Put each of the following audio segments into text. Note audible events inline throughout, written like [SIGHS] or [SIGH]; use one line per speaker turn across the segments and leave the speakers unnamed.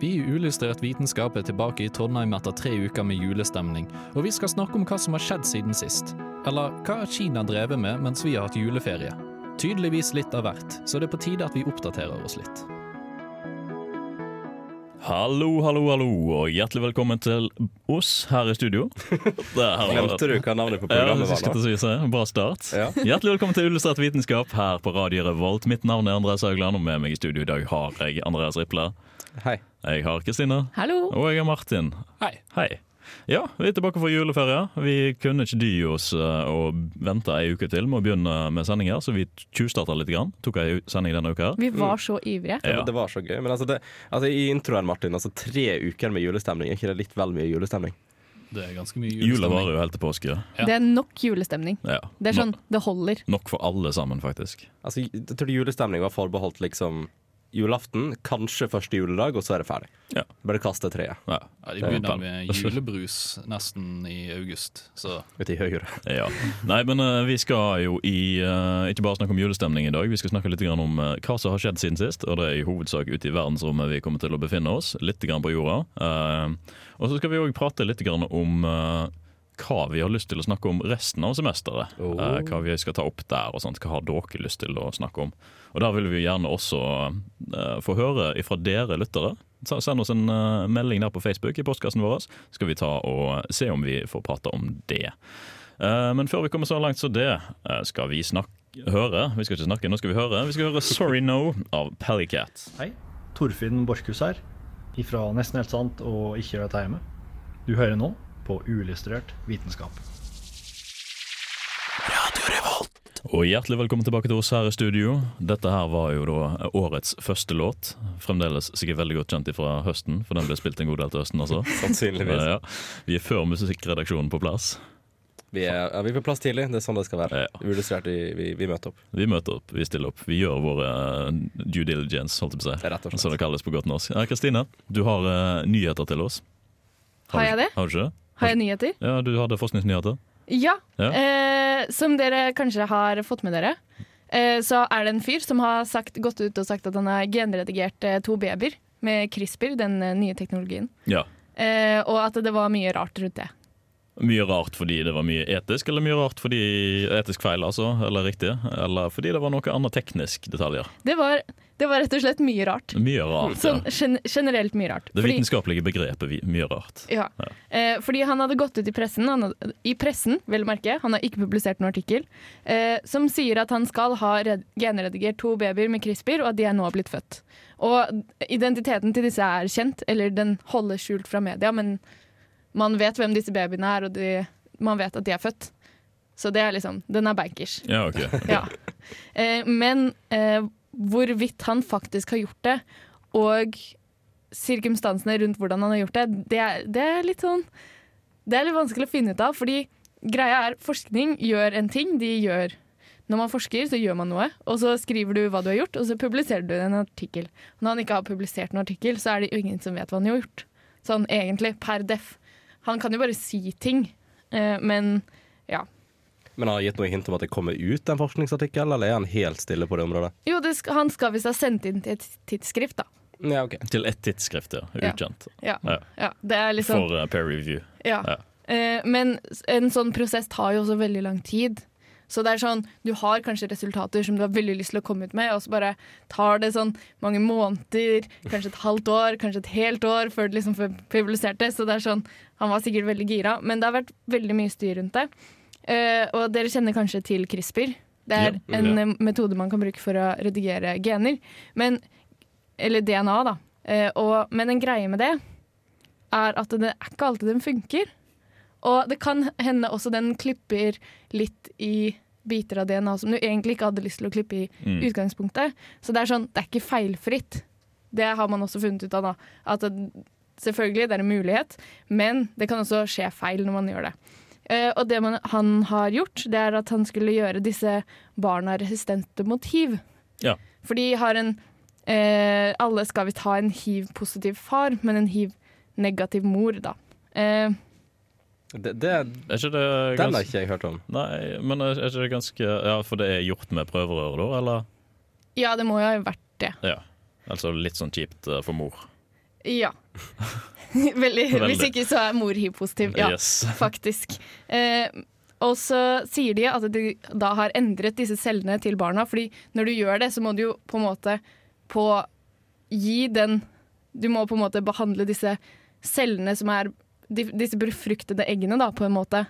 Vi i Ulystrert vitenskap er tilbake i Trondheim etter tre uker med julestemning, og vi skal snakke om hva som har skjedd siden sist. Eller hva har Kina drevet med mens vi har hatt juleferie? Tydeligvis litt av hvert, så det er på tide at vi oppdaterer oss litt.
Hallo, hallo, hallo, og hjertelig velkommen til oss her i
[LAUGHS]
studio. Der har vi vært.
Glemte du hva navnet på
Ja,
programmet
jeg skulle til
var nå?
å si så. Bra start.
Ja.
Hjertelig velkommen til Illustrert vitenskap her på Radio Revolt. Mitt navn er Andreas Haugland, og med meg i studio i dag har jeg Andreas Riple.
Hei.
Jeg har Kristina.
Hallo.
Og jeg har Martin.
Hei.
Hei. Ja, vi er tilbake fra juleferie. Vi kunne ikke dy oss eh, å vente ei uke til med å begynne med sendinger, så vi tjuvstarta litt. Grann. Tok ei sending denne uka. her.
Vi var så ivrige.
Ja.
Det var så gøy. Men altså, det, altså i introen, Martin, altså tre uker med julestemning, er ikke det litt vel mye julestemning?
Det er ganske mye
Jula varer jo helt til påske.
Ja.
Det er nok julestemning.
Ja.
Det er sånn, det holder.
No- Nok for alle sammen, faktisk.
Altså, jeg tror julestemning var forbeholdt liksom julaften, kanskje første juledag, og så er det ferdig.
Ja.
Bare kaste treet
Ja.
Ja, de begynner med julebrus nesten i august, så
ut i høyre.
Ja. Nei, men eh, vi skal jo i eh, ikke bare snakke om julestemning i dag. Vi skal snakke litt grann om eh, hva som har skjedd siden sist. Og det er i hovedsak ute i verdensrommet vi kommer til å befinne oss. Litt grann på jorda. Eh, og så skal vi òg prate litt grann om eh, hva vi har lyst til å snakke om resten av semesteret.
Oh.
Eh, hva vi skal ta opp der og sånt. Hva har dere lyst til å snakke om? Og der vil vi gjerne også eh, få høre ifra dere lyttere. Så Send oss en eh, melding der på Facebook i postkassen vår, så skal vi ta og se om vi får prate om det. Eh, Men før vi kommer så langt som det, eh, skal vi snakke høre. Vi skal ikke snakke, nå skal vi høre. Vi skal høre 'Sorry No' av Pellycat.
Hei, Torfinn Borchhus her, ifra Nesten helt sant og Ikke gjør dette hjemme. Du hører nå på Uillustrert vitenskap.
Og hjertelig velkommen tilbake til oss her i studio. Dette her var jo da årets første låt. Fremdeles sikkert veldig godt kjent fra høsten, for den ble spilt en god del til høsten, altså.
[LAUGHS] Sannsynligvis.
Ja, vi er før musikkredaksjonen på plass.
Vi er, ja, vi er på plass tidlig. Det er sånn det skal være.
Ja.
Uillustrert, vi, vi, vi møter opp.
Vi møter opp, vi stiller opp. Vi gjør våre eh, due diligence, holdt jeg på å si.
Rett og slett.
Som det kalles på godt norsk. Ja, Kristine, du har eh, nyheter til oss.
Har jeg
du-
det?
Har du ikke det?
Har jeg nyheter?
Ja, du hadde forskningsnyheter.
Ja.
Ja.
Eh, som dere kanskje har fått med dere, eh, så er det en fyr som har sagt, gått ut og sagt at han har genredigert eh, to babyer med CRISPR, den eh, nye teknologien.
Ja.
Eh, og at det var mye rart rundt det.
Mye rart fordi det var mye etisk, eller mye rart fordi etisk feil, altså, eller riktig. Eller fordi det var noe annet teknisk detaljer.
Det var, det var rett og slett mye rart.
Mye rart.
Sånn
ja.
gen generelt mye rart.
Det
Fordi-
vitenskapelige begrepet vi- mye rart.
Ja. Eh, fordi han hadde gått ut i pressen, han hadde, i pressen, vel å merke, han har ikke publisert noen artikkel, eh, som sier at han skal ha red genredigert to babyer med CRISPR, og at de er nå blitt født. Og identiteten til disse er kjent, eller den holdes skjult fra media, men man vet hvem disse babyene er, og de, man vet at de er født. Så det er liksom, den er bankers.
Ja, ok.
[LAUGHS]
ok.
Ja. Eh, men eh, hvorvidt han faktisk har gjort det, og sirkumstansene rundt hvordan han har gjort det, det er, det er litt sånn Det er litt vanskelig å finne ut av, fordi greia er forskning gjør en ting. De gjør Når man forsker, så gjør man noe, og så skriver du hva du har gjort, og så publiserer du en artikkel. Når han ikke har publisert en artikkel, så er det jo ingen som vet hva han har gjort. Sånn egentlig, per def. Han kan jo bare si ting, eh, men ja.
Men har han gitt noe hint om at det kommer ut en forskningsartikkel, eller er han helt stille på det området?
Jo, det skal, han skal visst ha sendt inn til et tidsskrift, da.
Ja, ok.
Til ett tidsskrift, ja.
Ja.
Ukjent.
Ja.
Ja.
ja det er liksom
For eh, peer review.
ja.
ja.
Eh, Men s- en sånn prosess tar jo også veldig lang tid. Så det er sånn, du har kanskje resultater som du har veldig lyst til å komme ut med, og så bare tar det sånn mange måneder, kanskje et halvt år, kanskje et helt år før det liksom får publisert det. Så det er sånn, han var sikkert veldig gira, men det har vært veldig mye styr rundt det. Eh, og dere kjenner kanskje til CRISPR. Det er
Ja,
en
ja.
eh, metode man kan bruke for å redigere gener. Men, eller DNA, da. Eh, og, men en greie med det er at det er ikke alltid den funker. Og det kan hende også den klipper litt i biter av DNA som du egentlig ikke hadde lyst til å klippe i
Mm.
utgangspunktet. Så det er sånn, det er ikke feilfritt. Det har man også funnet ut av, da. At det, selvfølgelig, det er en mulighet, men det kan også skje feil når man gjør det. Eh, og det man, han har gjort, det er at han skulle gjøre disse barna resistente mot hiv.
Ja.
For de har en eh, Alle skal visst ha en hiv-positiv far, men en hiv-negativ mor, da. Eh,
Det, det,
Er ikke det
den har
ganske
ikke jeg hørt om.
Nei, men er ikke det ganske Ja, for det er gjort med prøverør, da? Eller?
ja, det må jo ha vært det.
Ja. Altså litt sånn kjipt eh, for mor.
Ja. Veldig. Hvis
Veldig.
ikke, så er mor hiv-positiv. Ja,
Yes.
faktisk. Eh, og så sier de at de da har endret disse cellene til barna, fordi når du gjør det, så må du jo på en måte på gi den Du må på en måte behandle disse cellene som er de, Disse befruktede eggene, da, på en måte.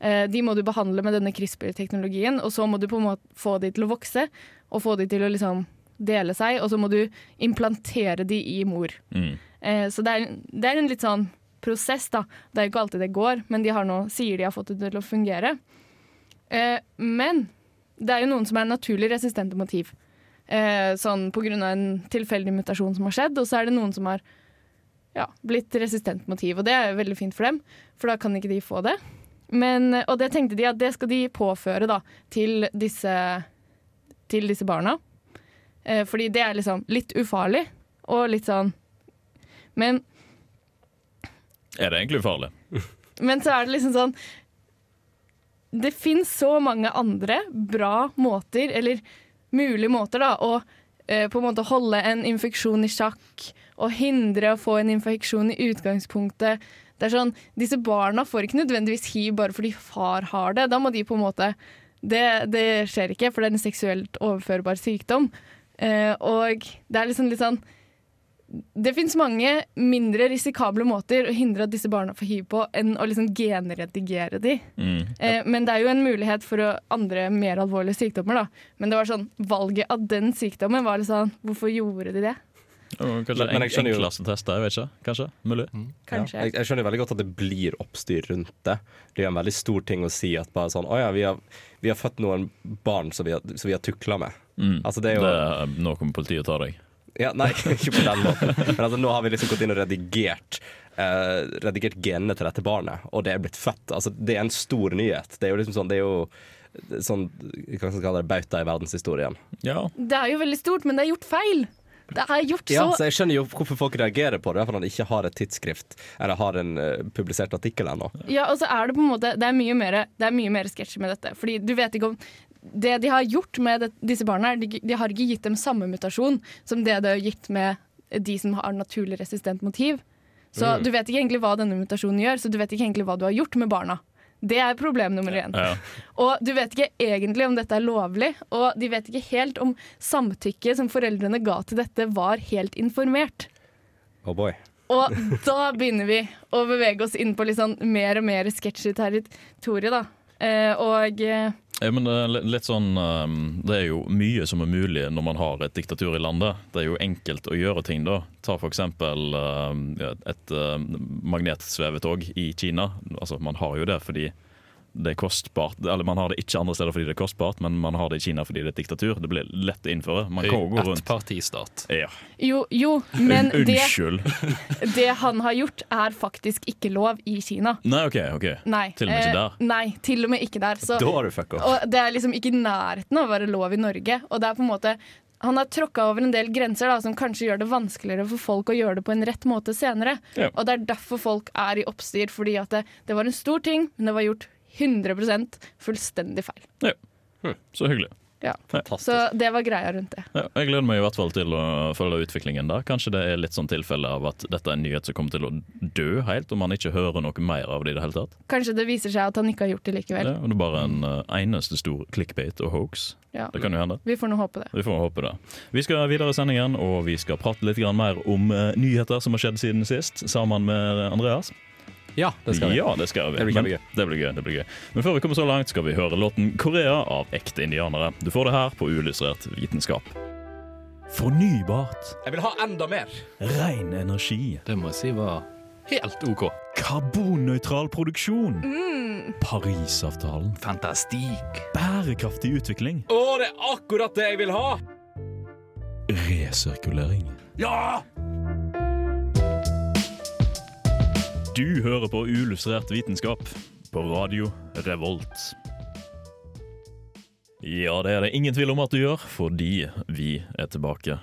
Eh, de må du behandle med denne CRISPR-teknologien, og så må du på en måte få de til å vokse, og få de til å liksom dele seg, og så må du implantere de i mor.
Mm.
Eh, så det er, det er en litt sånn prosess, da. Det er jo ikke alltid det går, men de har nå, sier de har fått det til å fungere. Eh, men det er jo noen som er naturlig resistente mot hiv. Eh, sånn på grunn av en tilfeldig mutasjon som har skjedd, og så er det noen som har ja, blitt resistent mot hiv, og det er jo veldig fint for dem, for da kan ikke de få det. Men, og det tenkte de at det skal de påføre da, til disse, til disse barna. Eh, fordi det er liksom litt ufarlig, og litt sånn Men
Er det egentlig ufarlig?
Men så er det liksom sånn Det fins så mange andre bra måter, eller mulige måter, da, å eh, på en måte holde en infeksjon i sjakk og hindre å få en infeksjon i utgangspunktet. Det er sånn, Disse barna får ikke nødvendigvis hiv bare fordi far har det. Da må de på en måte Det, det skjer ikke, for det er en seksuelt overførbar sykdom. Eh, og det er liksom litt sånn det finnes mange mindre risikable måter å hindre at disse barna får hiv på, enn å liksom genredigere de.
Mm.
Eh, men det er jo en mulighet for å andre mer alvorlige sykdommer, da. Men det var sånn, valget av den sykdommen var litt sånn Hvorfor gjorde de det?
Og Kanskje
Men- men jeg
enk-
skjønner jo-
enkleste tester, jeg vet ikke. Kanskje? Mulig?
Kanskje.
Jeg, jeg skjønner veldig godt at det blir oppstyr rundt det. Det er en veldig stor ting å si at bare sånn Å ja, vi har, vi har født noen barn som vi har, som vi har tukla med.
Mm.
Altså, det er jo
Det, nå kommer politiet og tar deg.
ja, Nei, [LAUGHS] ikke på den måten. Men altså, nå har vi liksom gått inn og redigert eh, Redigert genene til dette barnet, og det er blitt født. Altså, det er en stor nyhet. Det er jo liksom sånn Det er jo sånn Hva skal man kalle det? Bauta i verdenshistorien.
Ja,
Det er jo veldig stort, men det er gjort feil! Det er gjort
Ja,
så
så jeg skjønner jo hvorfor folk reagerer på det, i hvert fall når de ikke har et tidsskrift eller har en eh, publisert artikkel ennå.
Ja, og så er det på en måte Det er mye mer, det er mye mer sketsjer med dette. Fordi du vet ikke om Det de har gjort med det, disse barna, er de, de har ikke gitt dem samme mutasjon som det det har gitt med de som har naturlig resistent motiv. Så
Mm.
du vet ikke egentlig hva denne mutasjonen gjør, så du vet ikke egentlig hva du har gjort med barna. Det er problem nummer én.
ja.
Og du vet ikke egentlig om dette er lovlig, og de vet ikke helt om samtykket som foreldrene ga til dette, var helt informert.
Oh boy.
Og da begynner vi å bevege oss inn på litt sånn mer og mer sketsjy territorium, da. Eh, og eh,
Ja, men det er li- litt sånn ehm, Det er jo mye som er mulig når man har et diktatur i landet. Det er jo enkelt å gjøre ting da. Ta for eksempel ehm, ja, et ehm, magnetsvevetog i Kina. Altså, man har jo det fordi det er kostbart. Eller man har det ikke andre steder fordi det er kostbart, men man har det i Kina fordi det er et diktatur. Det blir lett å innføre. Man kan jo gå rundt.
Ettpartistat.
Ja.
jo, jo, men
[LAUGHS] Un-
det,
Unnskyld.
det han har gjort, er faktisk ikke lov i Kina.
Nei, OK. ok.
Nei.
Til og med ikke
eh,
der.
Nei, til og med ikke der. Så,
Da har du fucka.
og det er liksom ikke i nærheten av å være lov i Norge. Og det er på en måte han har tråkka over en del grenser da, som kanskje gjør det vanskeligere for folk å gjøre det på en rett måte senere.
Ja.
Og det er derfor folk er i oppstyr, fordi at det, det var en stor ting, men det var gjort 100 fullstendig feil.
Hm, Så hyggelig.
Ja.
Fantastisk.
Så det var greia rundt det.
Ja, jeg gleder meg i hvert fall til å følge utviklingen der. Kanskje det er litt sånn tilfelle av at dette er en nyhet som kommer til å dø helt, om man ikke hører noe mer av det i det hele tatt.
Kanskje det viser seg at han ikke har gjort det likevel.
Ja, og det er bare en eh, eneste stor clickbait og hoax.
Ja.
Det kan jo hende.
Vi får nå håpe det.
Vi får håpe det. Vi skal videre i sendingen, og vi skal prate litt grann mer om eh, nyheter som har skjedd siden sist, sammen med Andreas.
Ja, det skal vi.
Ja, det skal vi.
Det blir
Men-
kjempegøy.
Det blir gøy. det blir gøy. Men før vi kommer så langt, skal vi høre låten 'Korea' av ekte indianere. Du får det her på Uillustrert vitenskap. Fornybart.
Jeg vil ha enda mer.
Ren energi.
Det må jeg si var helt OK.
Karbonnøytral produksjon. Parisavtalen.
Fantastisk.
Bærekraftig utvikling.
Å, det er akkurat det jeg vil ha!
Resirkulering.
Ja!
Du hører på Uillustrert vitenskap på radio Revolt. Ja, det er det ingen tvil om at du gjør, fordi vi er tilbake.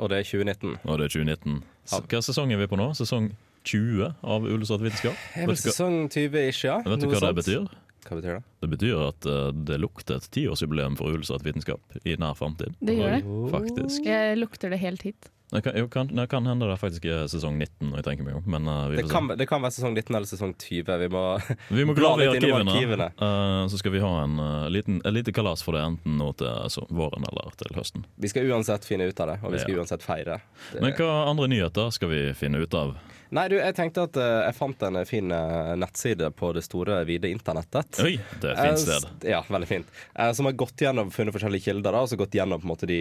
Og det er 2019.
Og det er 2019. S- Hva sesong er vi på nå? Sesong 20 av Uillustrert vitenskap?
Er vel
Vet du hva,
sesong 20-ish, ja.
vet du
Noe
hva det
sånt.
betyr?
Hva betyr det?
Det betyr at eh, det lukter et tiårsjubileum for Uillustrert vitenskap i nær framtid.
Det Oh. gjør det.
Faktisk.
Jeg lukter det helt hit.
Det kan, jo, kan, det kan hende det faktisk er sesong 19, når jeg tenker meg om. Men eh, vi,
Det
får se.
kan, det kan være sesong 19 eller sesong 20. Vi må [LAUGHS]
vi må
bla
grave i
litt innom
arkivene. Eh, så skal vi ha en eh, liten, et lite kalas for det, enten nå til eh, så, våren eller til høsten.
Vi skal uansett finne ut av det, og vi skal
Ja.
uansett feire. Det-
Men hva andre nyheter skal vi finne ut av?
Nei, du, jeg tenkte at eh, jeg fant en fin eh, nettside på det store, vide internettet.
Oi, det er et fint
Eh,
sted.
s- Ja, veldig fint. Eh, Som har gått gjennom, funnet forskjellige kilder, da, og så gått gjennom på en måte de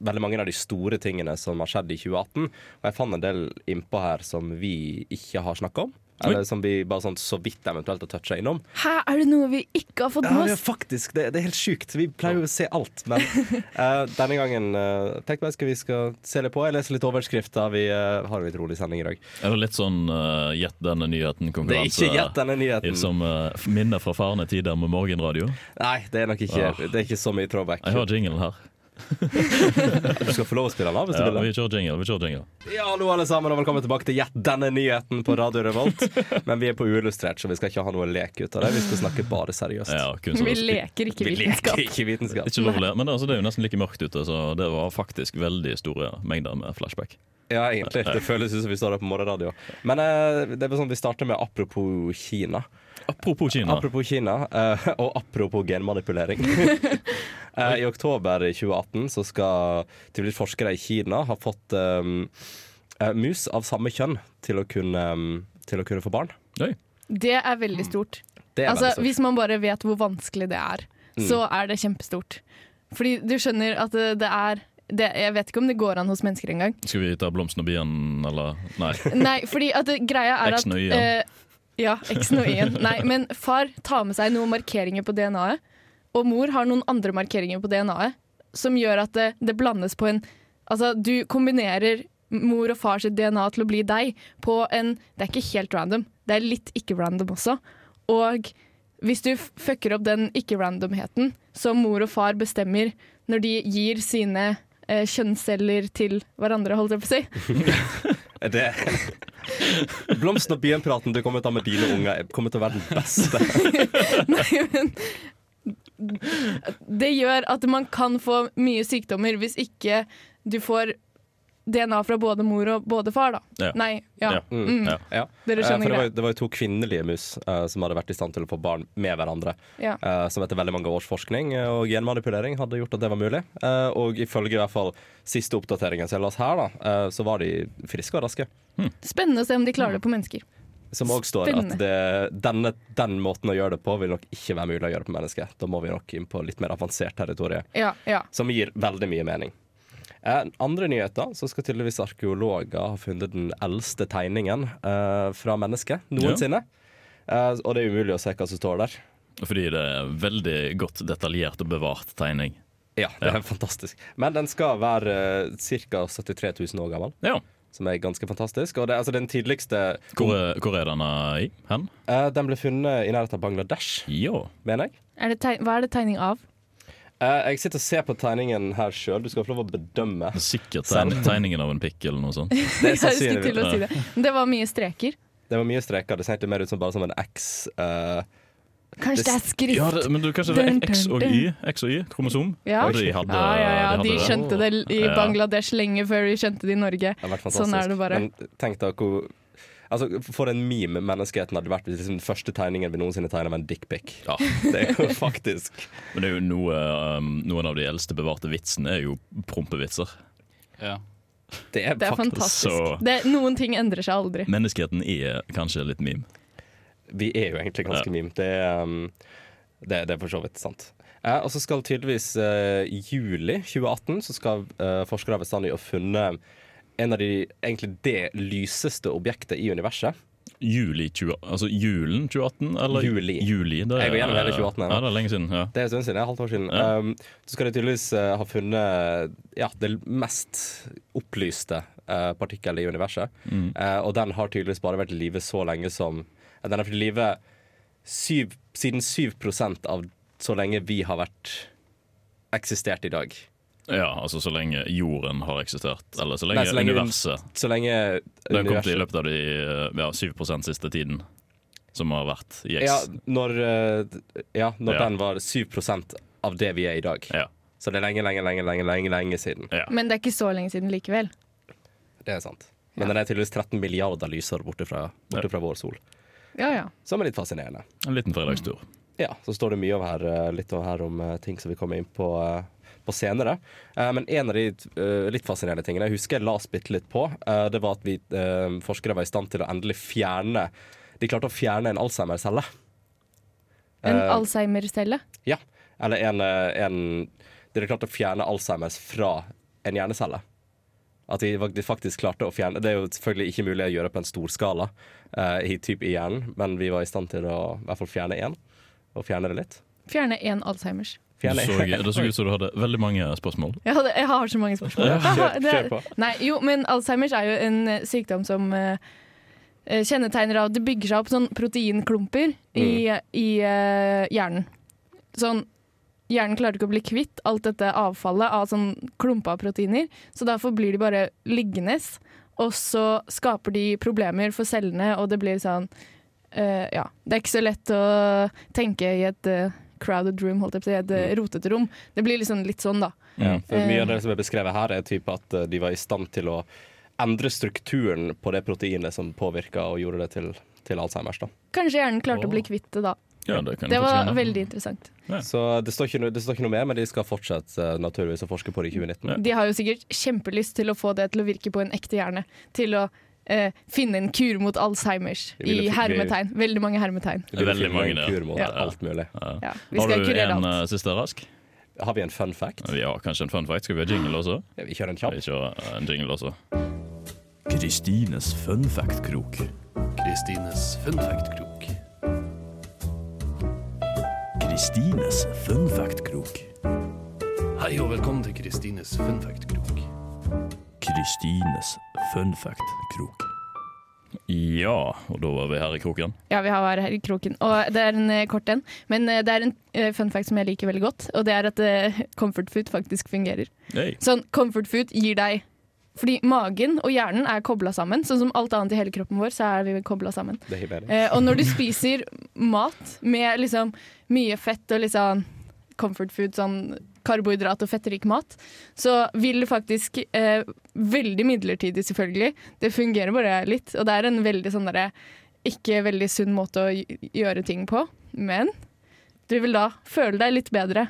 veldig mange av de store tingene som har skjedd i 2018. Og jeg fant en del innpå her som vi ikke har snakka om. Eller som vi bare sånn så vidt eventuelt har toucha innom.
Hæ, er det noe vi ikke har fått
Ja,
med
det er
oss?
faktisk, det, det er helt sjukt. Vi pleier jo å se alt,
[LAUGHS]
men eh, denne gangen uh, tenkte jeg skal vi skal se litt på. Jeg leser litt overskrifter. Vi eh, har en litt rolig sending i dag.
Er det litt sånn eh, gjett denne
Det er
nyheten-konkurranse?
ikke gjett denne nyheten.
Som eh, minner fra farne tider med morgenradio?
Nei, det er nok ikke,
Åh.
det er ikke så mye throwback.
Jeg har jingle her.
Du skal få lov å spille den av hvis du
Ja,
vil. det.
vi kjører jingle. vi kjører jingle
Ja, hallo alle sammen, og velkommen tilbake til Gjett denne nyheten på Radio Revolt. Men vi er på uillustrert, så vi skal ikke ha noe lek ut av det. Vi skal snakke bare seriøst.
ja, kun så-
[LAUGHS] Vi leker ikke
Vi
vitenskap.
leker ikke vitenskap.
Ikke lov å le, men det, altså, det er jo nesten like mørkt ute, så det var faktisk veldig store mengder med flashback.
Ja, egentlig. Det føles ut som vi står der på morgenradio. Men eh, det er sånn vi starter med apropos Kina.
Apropos Kina.
Apropos Kina, eh, og apropos genmanipulering. Eh, I oktober i 2018 så skal tydeligvis forskere i Kina ha fått eh, eh, mus av samme kjønn til å kunne, eh, til å kunne få barn.
Oi.
Det er veldig stort.
Det er
Altså,
veldig stort.
hvis man bare vet hvor vanskelig det er, så er det kjempestort. Fordi du skjønner at det, det er det, Jeg vet ikke om det går an hos mennesker engang.
Skal vi ta blomsten og bien, eller Nei.
Nei, fordi at det, greia er at
X-en og Y-en.
eh, Ja, X-en og Y-en. Nei, men far tar med seg noen markeringer på DNA-et, og mor har noen andre markeringer på DNA-et, som gjør at det, det blandes på en Altså, du kombinerer mor og far sitt DNA til å bli deg på en Det er ikke helt random, det er litt ikke-random også. Og hvis du f- fucker opp den ikke-randomheten som mor og far bestemmer når de gir sine eh, kjønnsceller til hverandre, holdt jeg på å si,
Er Det [LAUGHS] Blomsten og bien-praten du kommer til å ha med dine unger, kommer til å være den beste. [LAUGHS]
det gjør at man kan få mye sykdommer hvis ikke du får DNA fra både mor og både far, da.
Ja.
Nei, [LAUGHS] ja.
Ja.
Mm.
Ja.
Ja. Eh,
Dere
For
skjønner
det var,
greia.
jo- det var jo to kvinnelige mus eh, som hadde vært i stand til å få barn med hverandre.
Ja.
eh, som etter veldig mange års forskning eh, og genmanipulering hadde gjort at det var mulig. Eh, og ifølge i hvert fall siste oppdateringen som jeg las her, da, eh, så var de friske og raske.
Spennende å se om de klarer det på mennesker.
Som òg står at det, denne, den måten å gjøre det på vil nok ikke være mulig å gjøre det på mennesker. Da må vi nok inn på litt mer avansert territorium.
Ja, ja.
som gir veldig mye mening. Eh, andre nyheter så skal tydeligvis arkeologer ha funnet den eldste tegningen eh, fra mennesket noensinne. Eh, og det er umulig å se hva som står der.
Fordi det er veldig godt detaljert og bevart tegning.
Ja, det er fantastisk. Men den skal være eh, ca. 73 000 år gammel,
Ja.
som er ganske fantastisk. Og det, altså, den tidligste
Hvor er, hvor er denne i? Hen?
eh, Den ble funnet i nærheten av Bangladesh,
Ja.
mener jeg.
Er det teg Hva er det tegning av?
Eh, jeg sitter og ser på tegningen her sjøl. Du skal få lov å bedømme.
Sikkert tegn, tegningen av en pikk eller noe
[LAUGHS]
sånt.
Det er
Jeg skulle
sannsynligvis-
til å si det. Men Det var mye streker.
Det var mye streker. Det ser egentlig mer ut som bare som en X. eh,
Kanskje det er skrift.
Ja, det, men du, kanskje det er X og Y? X og Y, kromosom?
Ja.
Og de hadde,
ja, ja, ja.
de
De
hadde det.
skjønte det i
Ja.
Bangladesh lenge før de skjønte det i Norge.
Det har vært fantastisk.
Sånn er det bare.
Men tenk deg hvor Altså, For en meme menneskeheten hadde vært hvis liksom, den første tegningen vi noensinne tegna, var en dickpic.
Ja.
Det er jo [LAUGHS] faktisk
Men det er jo noe, um, noen av de eldste bevarte vitsene er jo prompevitser.
Ja.
Det er,
[LAUGHS] Det er
faktisk
så-
fantastisk. Det, noen ting endrer seg aldri.
Menneskeheten er kanskje litt meme.
Vi er jo egentlig ganske
Ja.
meme. Det, er, um, det, det er for så vidt sant. Eh, og så skal tydeligvis eh, i juli 2018 så skal eh, forskere ha vært i stand til å funne en av de egentlig det lyseste objektet i universet.
Juli 20, altså julen 2018? Eller
Juli.
det er,
Jeg går gjennom hele 2018 her nå.
Ja, det er lenge siden. Ja.
Det er en stund siden. det er Halvt år siden.
Ja.
Um, så skal de tydeligvis eh, ha funnet ja, det mest opplyste uh, partikkel i universet.
Mm.
Eh, og den har tydeligvis bare vært i live så lenge som eh, Den har vært i live syv- siden 7 av så lenge vi har vært eksistert i dag.
ja, altså så lenge jorden har eksistert. Eller så lenge,
Nei, så lenge
universet.
Så lenge
Det har kommet i løpet av de eh, ja, 7 siste tiden som har vært i
ja,
X.
Når, eh, ja, når
Ja.
den var 7 av det vi er i dag.
Ja.
Så det er lenge, lenge, lenge, lenge, lenge, lenge siden.
Men det er ikke så lenge siden likevel.
Det er sant. Men den er tydeligvis 13 milliarder lysår borte fra, borte
Ja.
fra vår sol.
Ja, ja.
Som er litt fascinerende.
En liten fredagstur.
Ja, så står det mye om her, eh, litt om her om eh, ting som vi kommer inn på, eh, på senere. Eh, Men en av de eh, litt fascinerende tingene jeg husker jeg las bitte litt på, eh, det var at vi eh, forskere var i stand til å endelig fjerne De klarte å fjerne en Alzheimer-celle.
En
Eh,
Alzheimer-celle.
Ja. Eller en, eh, en De klarte å fjerne Alzheimers fra en hjernecelle. At de fak- de faktisk klarte å fjerne Det er jo selvfølgelig ikke mulig å gjøre på en stor skala eh, i, typ, i hjernen, men vi var i stand til å i hvert fall fjerne én. Og fjerne det litt.
Fjerne én Alzheimers.
Du
Fjerne
så, det så ut som du
[LAUGHS]
hadde veldig mange spørsmål.
Jeg, hadde, jeg har så mange spørsmål.
kjør- kjør på.
[LAUGHS] Det- Nei, jo, men Alzheimers er jo en eh, sykdom som eh, eh, kjennetegner av at det bygger seg opp sånn proteinklumper
Mm.
i, i eh, hjernen. Sånn Hjernen klarer ikke å bli kvitt alt dette avfallet av sånn klumpa av proteiner, så derfor blir de bare liggende, og så skaper de problemer for cellene, og det blir sånn eh, Ja. Det er ikke så lett å tenke i et eh, crowded room, holdt jeg på å si, et
Mm.
eh, rotete rom. Det blir liksom litt sånn, da.
Ja.
For mye av det som er beskrevet her, er typ at eh, de var i stand til å endre strukturen på det proteinet som påvirka og gjorde det til, til Alzheimers. Da.
Kanskje hjernen klarte å bli kvitt det da.
Ja, det kan
Det
jeg
var
faktisk gjerne.
veldig interessant.
Ja.
Så det står, ikke, noe- det står ikke noe mer, men de skal fortsette eh, naturligvis å forske på det i 2019.
De har jo sikkert kjempelyst til å få det til å virke på en ekte hjerne. Til å eh, finne en kur mot Alzheimers
Det ville
i
fått-
hermetegn. Veldig mange hermetegn.
Det blir
Veldig
funnet
mange,
en
det.
kur mot
Ja.
alt mulig.
Ja.
Ja, vi
Har
skal
du
kurere
en
alt.
eh, siste rask?
Har vi en fun fact?
Vi har kanskje en fun fact. Skal vi ha jingle også?
Ja, Vi kjører en
Vi
kjapp.
kjører eh, en jingle også. Kristines fun fact-krok.
Kristines fun fact-krok.
Kristines fun fact-krok.
Hei og velkommen til Kristines fun fact-krok.
Kristines fun fact-krok. Ja, og da var vi her i kroken.
Ja, vi har vært her i kroken. Og det er en eh, kort en, men eh, det er en eh, fun fact som jeg liker veldig godt. Og det er at eh, [LAUGHS] comfort food faktisk fungerer.
Hey.
Sånn comfort food gir deg Fordi magen og hjernen er kobla sammen. Sånn som alt annet i hele kroppen vår, så er vi kobla sammen.
Det er Hiberi.
Eh, og når du spiser mat med liksom mye fett og liksom comfort food, sånn karbohydrat og fettrik mat, så vil det faktisk eh, Veldig midlertidig, selvfølgelig. Det fungerer bare litt. Og det er en veldig sånn derre ikke veldig sunn måte å gj- gjøre ting på, men du vil da føle deg litt bedre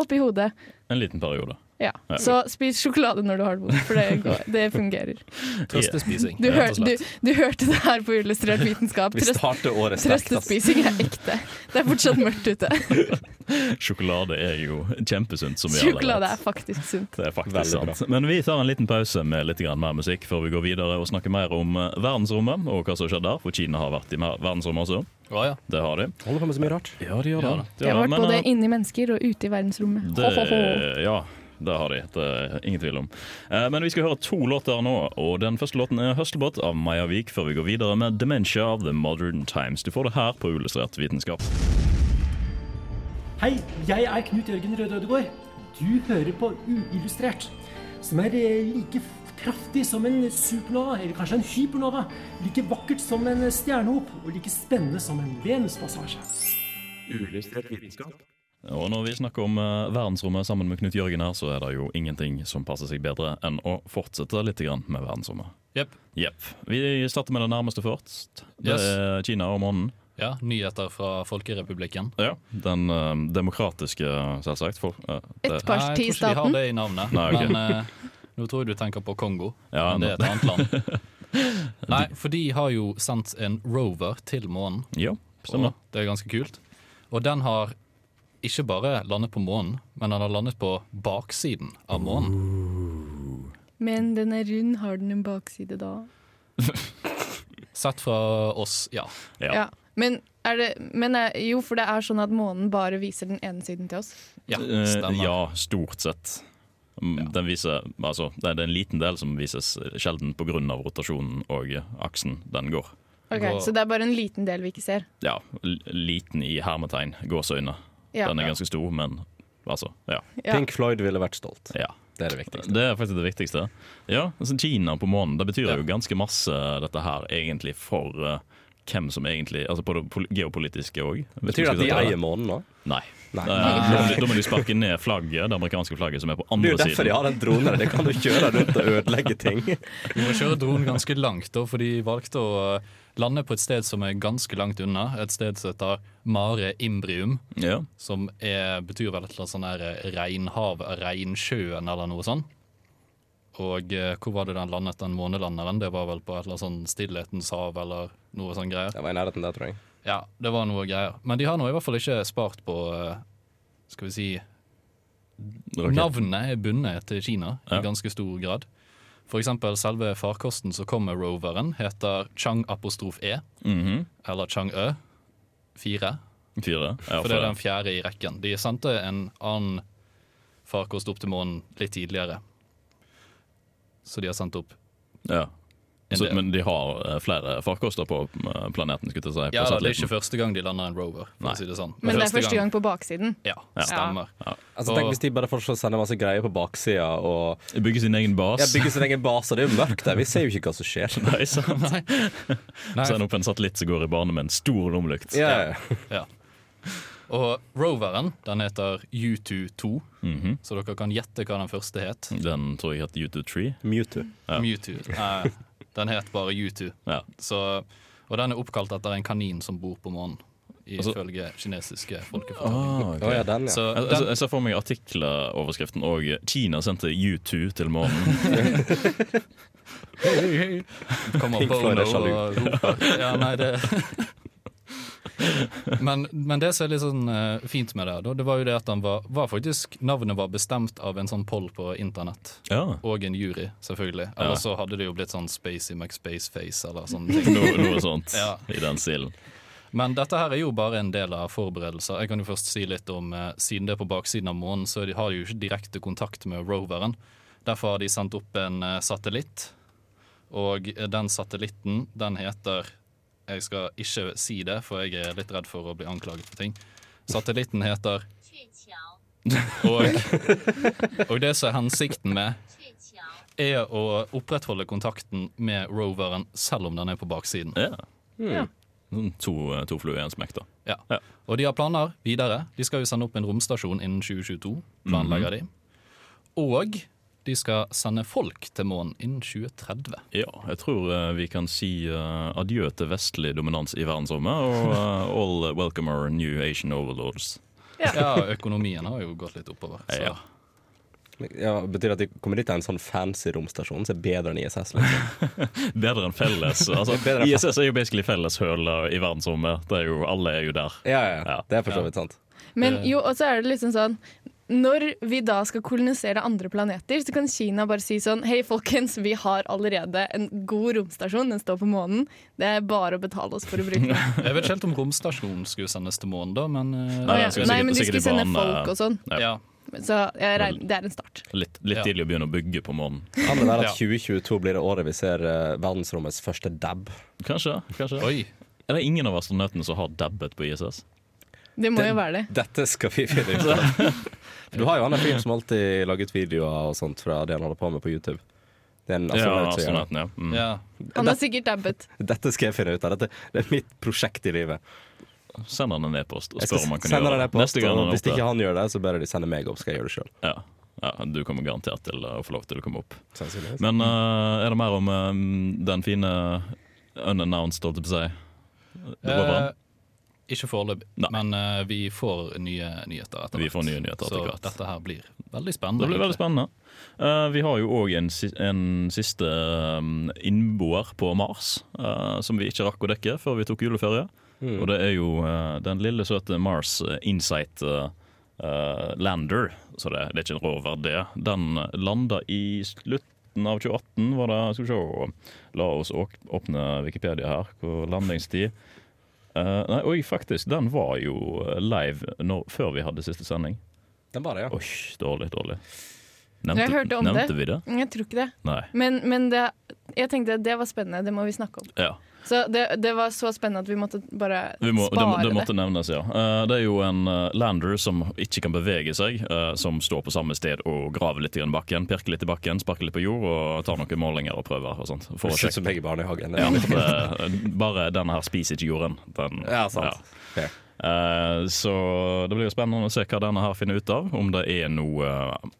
oppi hodet.
En liten periode.
Ja.
Ja.
Så spis sjokolade når du har det vondt, for det, går, det fungerer.
Eh,
Trøstespising,
Du,
rett og
hørte-
slett.
du, du hørte det her på Illustrert vitenskap.
Vi starter året sterkt. ass.
Trøstespising er ekte. Det er fortsatt mørkt ute.
[LAUGHS] Sjokolade er jo kjempesunt. som vi alle
Sjokolade
vet.
er faktisk sunt.
Det er faktisk
Veldig bra.
sant. Men vi tar en liten pause med litt grann mer musikk før vi går videre og snakker mer om eh, verdensrommet og hva som skjedde der. For Kina har vært i mer- verdensrommet også.
Å ja.
Det har de.
Holder på med så mye rart.
Ja, de gjør
det.
Jeg har vært
men,
både
eh,
inni mennesker og ute i verdensrommet. Ho, ho, ho.
det, ja, det har de. Det er ingen tvil om. Eh, Men vi skal høre to låter nå, og den første låten er 'Høstelbåt' av Maja Vik, før vi går videre med 'Dementia of the Modern Times'. Du får det her på Ullustrert vitenskap.
Hei, jeg er Knut Jørgen Røde Ødegård. Du hører på Uillustrert, som er eh, like f- kraftig som en supernova, eller kanskje en hypernova, like vakkert som en stjernehop, og like spennende som en venuspassasje.
Og når vi snakker om eh, verdensrommet sammen med Knut Jørgen her, så er det jo ingenting som passer seg bedre enn å fortsette litt grann med verdensrommet.
Jepp.
Jepp. Vi starter med det nærmeste først. Det
Yes.
er Kina og månen.
Ja, nyheter fra Folkerepublikken.
Ja, Den eh, demokratiske, selvsagt. For, eh, det-
Nei, jeg
Et
tror ikke de
Parti-staten.
har det i navnet,
Nei, ok.
men eh, nå tror jeg du tenker på Kongo.
Ja,
men det er et annet land.
[LAUGHS]
Nei, for de har jo sendt en rover til månen.
Ja,
Stemmer.
stemmer.
Det er ganske kult. Og den har ikke bare landet på månen, men den har landet på baksiden av månen.
Men den er rund, har den en bakside da?
Sett fra oss, ja.
Ja.
Ja. Men, er det, men er, jo, for det er sånn at månen bare viser den ene siden til oss.
Ja,
Eh,
stemmer.
ja, stort sett. Mm, Den viser, altså, det er en liten del som vises sjelden pga. rotasjonen og aksen den går.
Ok,
Gå-
Så det er bare en liten del vi ikke ser.
Ja, l- liten i hermetegn, gåseøyne.
Ja.
Den er ganske stor, men altså, ja.
Ja.
Pink Floyd ville vært stolt.
ja.
Det er det viktigste.
Det er faktisk det viktigste. Ja, altså Kina på månen, det betyr
Ja.
jo ganske masse dette her egentlig for eh, hvem som egentlig Altså på det pol- geopolitiske òg.
Betyr det at de eier månen nå?
Nei.
Nei.
Eh, Da må de- da må de sparke ned flagget, det amerikanske flagget som er på
Det er
andre
jo derfor de
siden.
har en drone. der. De kan jo kjøre rundt og ødelegge [LAUGHS] ting.
Vi må kjøre dronen ganske langt, da, for de valgte å eh, lande på et sted som er ganske langt unna. Et sted som heter Mare Imbrium,
Ja.
som er, betyr vel et eller annet sånn der eh, reinhav, reinsjøen eller noe sånt. Og eh, hvor var det den landet, den månelanderen? Det var vel på et eller annet sånn Stillhetens hav eller noe sånn greier.
Det var i nærheten der, tror jeg.
Ja, det var noe greier. Men de har nå i hvert fall ikke spart på eh, Skal vi si
Rakett.
Navnet er bundet til Kina
Ja.
i ganske stor grad. For eksempel selve farkosten som kommer med roveren, heter Chang apostrof E,
Mhm.
eller Chang Ø 4.
Fire. Ja,
For det er den fjerde i rekken. De sendte en annen farkost opp til månen litt tidligere. Så de har sendt opp
ja.
en
Så,
del.
men de har eh, flere farkoster på eh, planeten, skulle jeg til å si. på
ja, da, det er
satellitten.
ikke første gang de lander en rover, for
Nei.
å si det sånn.
Men det er første gang på baksiden.
Ja, stemmer.
Altså,
Og-
tenk hvis de bare fortsatt sender masse greier på baksida og
Bygge sin egen bas.
ja, bygger sin egen base. Det er jo mørkt der. Vi ser jo ikke hva som skjer.
[LAUGHS] Nei, sant?
Nei,
Send opp en satellitt som går i bane med en stor lommelykt.
[LAUGHS] Ja, ja.
Ja. Og roveren, den heter U22,
Mhm.
så dere kan gjette hva den første het.
Den tror jeg het U23.
Mewtwo.
Ja.
Mewtwo. Nei, den het bare U2.
Ja.
Så, og den er oppkalt etter en kanin som bor på månen,
Altså-
ifølge kinesiske folkefortellinger.
Ah, ok.
Å ja, den, ja.
Så
Jeg, jeg,
den,
jeg ser for meg artikkeloverskriften og 'Kina sendte U2 til
[LAUGHS]
månen'.
kommer
Pink Floyd er
Bono og roper. Ja, nei, det [LAUGHS] men, men det som er litt sånn eh, fint med det, her, da, det var jo det at den var, var faktisk, navnet var bestemt av en sånn poll på internett.
Ja.
Og en jury, selvfølgelig.
Ja.
Eller så hadde det jo blitt sånn Spacey McSpaceface eller sånne ting.
Noe, noe sånt
Ja.
i den stilen.
Men dette her er jo bare en del av forberedelser. Jeg kan jo først si litt om, eh, Siden det er på baksiden av månen, så de har de jo ikke direkte kontakt med roveren. Derfor har de sendt opp en eh, satellitt. Og eh, den satellitten, den heter Jeg skal ikke si det, for jeg er litt redd for å bli anklaget for ting. Satellitten heter og, [LAUGHS] og det som er hensikten med, er å opprettholde kontakten med roveren selv om den er på baksiden.
Ja.
Ja.
Hmm.
Sånn To, eh, to fluer i en smekk, da.
Ja.
Ja.
Og de har planer videre. De skal jo sende opp en romstasjon innen 2022, planlegger
Mhm.
de. Og de skal sende folk til månen innen 2030.
Ja, jeg tror eh, vi kan si eh, adjø til vestlig dominans i verdensrommet, og eh, all welcome our new Asian overlords.
Ja, økonomien har jo gått litt oppover. Så.
Ja.
ja. Betyr det at de kommer dit til en sånn fancy romstasjon som er bedre enn ISS? Liksom.
Bedre enn felles.
[LAUGHS]
Altså,
Bedre enn-
ISS er jo basically felleshøla i verdensrommet. Det er jo, alle er jo der.
Ja, ja, ja.
Ja.
Det er for så vidt sant.
Men jo, og så er det liksom sånn Når vi da skal kolonisere andre planeter, så kan Kina bare si sånn Hei, folkens, vi har allerede en god romstasjon. Den står på månen. Det er bare å betale oss for å
[LAUGHS]
bruke den.
Jeg vet ikke helt om romstasjonen skulle sendes til månen, da, men eh,
Nei,
Nei,
jeg skulle sikkert-
men de
sikkert i
skulle
Mm.
sende
banen,
folk
eh,
og sånn.
ja.
ja.
Så jeg regner, det er en start.
Litt, litt
Ja.
tidlig å begynne å bygge på månen.
Kan det være
Ja.
at 2022 blir det året vi ser eh, verdensrommets første dab?
Kanskje. kanskje.
Oi.
Er det ingen av astronautene som har dabbet på ISS?
Det må
Den-
jo være det.
Dette skal vi finne ut av. [LAUGHS] Du har jo han der fyren som alltid lager ut videoer og sånt fra det han holder på med på YouTube. Det er en astronaut som gjør det.
astronauten, ja. Mm.
Ja.
Han har sikkert dabbet.
Dette skal jeg finne ut av. Dette, det er mitt prosjekt i livet.
Send han en e-post og
Jeg
spør
skal
om han kan
sende
gjøre
den
det.
der på
Neste gang han
og
er
Hvis ikke
oppe.
han gjør det, så bare de sender meg opp, skal jeg gjøre det sjøl.
Ja. Ja, du kommer garantert til å få lov til å komme opp.
Sannsynligvis.
Men eh, er det mer om eh, den fine unannounced, holdt jeg på å si?
Eh,
Roveren?
ikke foreløpig,
Nei.
men eh, vi får nye nyheter etter
Vi
hvert.
får nye nyheter
Så
etter hvert.
dette her blir veldig spennende.
Det blir veldig
egentlig.
spennende. Eh, vi har jo òg en, si en siste um, innboer på Mars, eh, som vi ikke rakk å dekke før vi tok juleferie.
Mm.
Og det er jo eh, den lille, søte Mars eh, Insight eh, eh, Lander. Så det, det er ikke en rover, det. Den landa i slutten av 2018, var det. Skal vi se. La oss åk- åpne Wikipedia her. Hvor landingstid Eh, Nei, oi, faktisk. Den var jo eh, live når, før vi hadde siste sending.
Den bare, ja.
Oi, dårlig, dårlig.
Jeg hørte om
nevnte
det.
vi det?
Jeg tror ikke det.
Nei.
Men, men det, jeg tenkte det var spennende. Det må vi snakke om.
Ja.
Så det, det var så spennende at vi måtte bare
Vi må, det,
spare
det
det.
måtte nevnes, ja. Eh, det er jo en eh, lander som ikke kan bevege seg, eh, som står på samme sted og graver litt i bakken, pirker litt i bakken, sparker litt på jord og tar noen målinger og prøver og sånt. For å
Høres ut
sjekke. Eh,
som jeg i barnehagen.
Ja, det, bare denne her spiser ikke jorden. Den,
Ja, sant. Fair.
Eh, Så det blir jo spennende å se hva denne her finner ut av. Om det er noe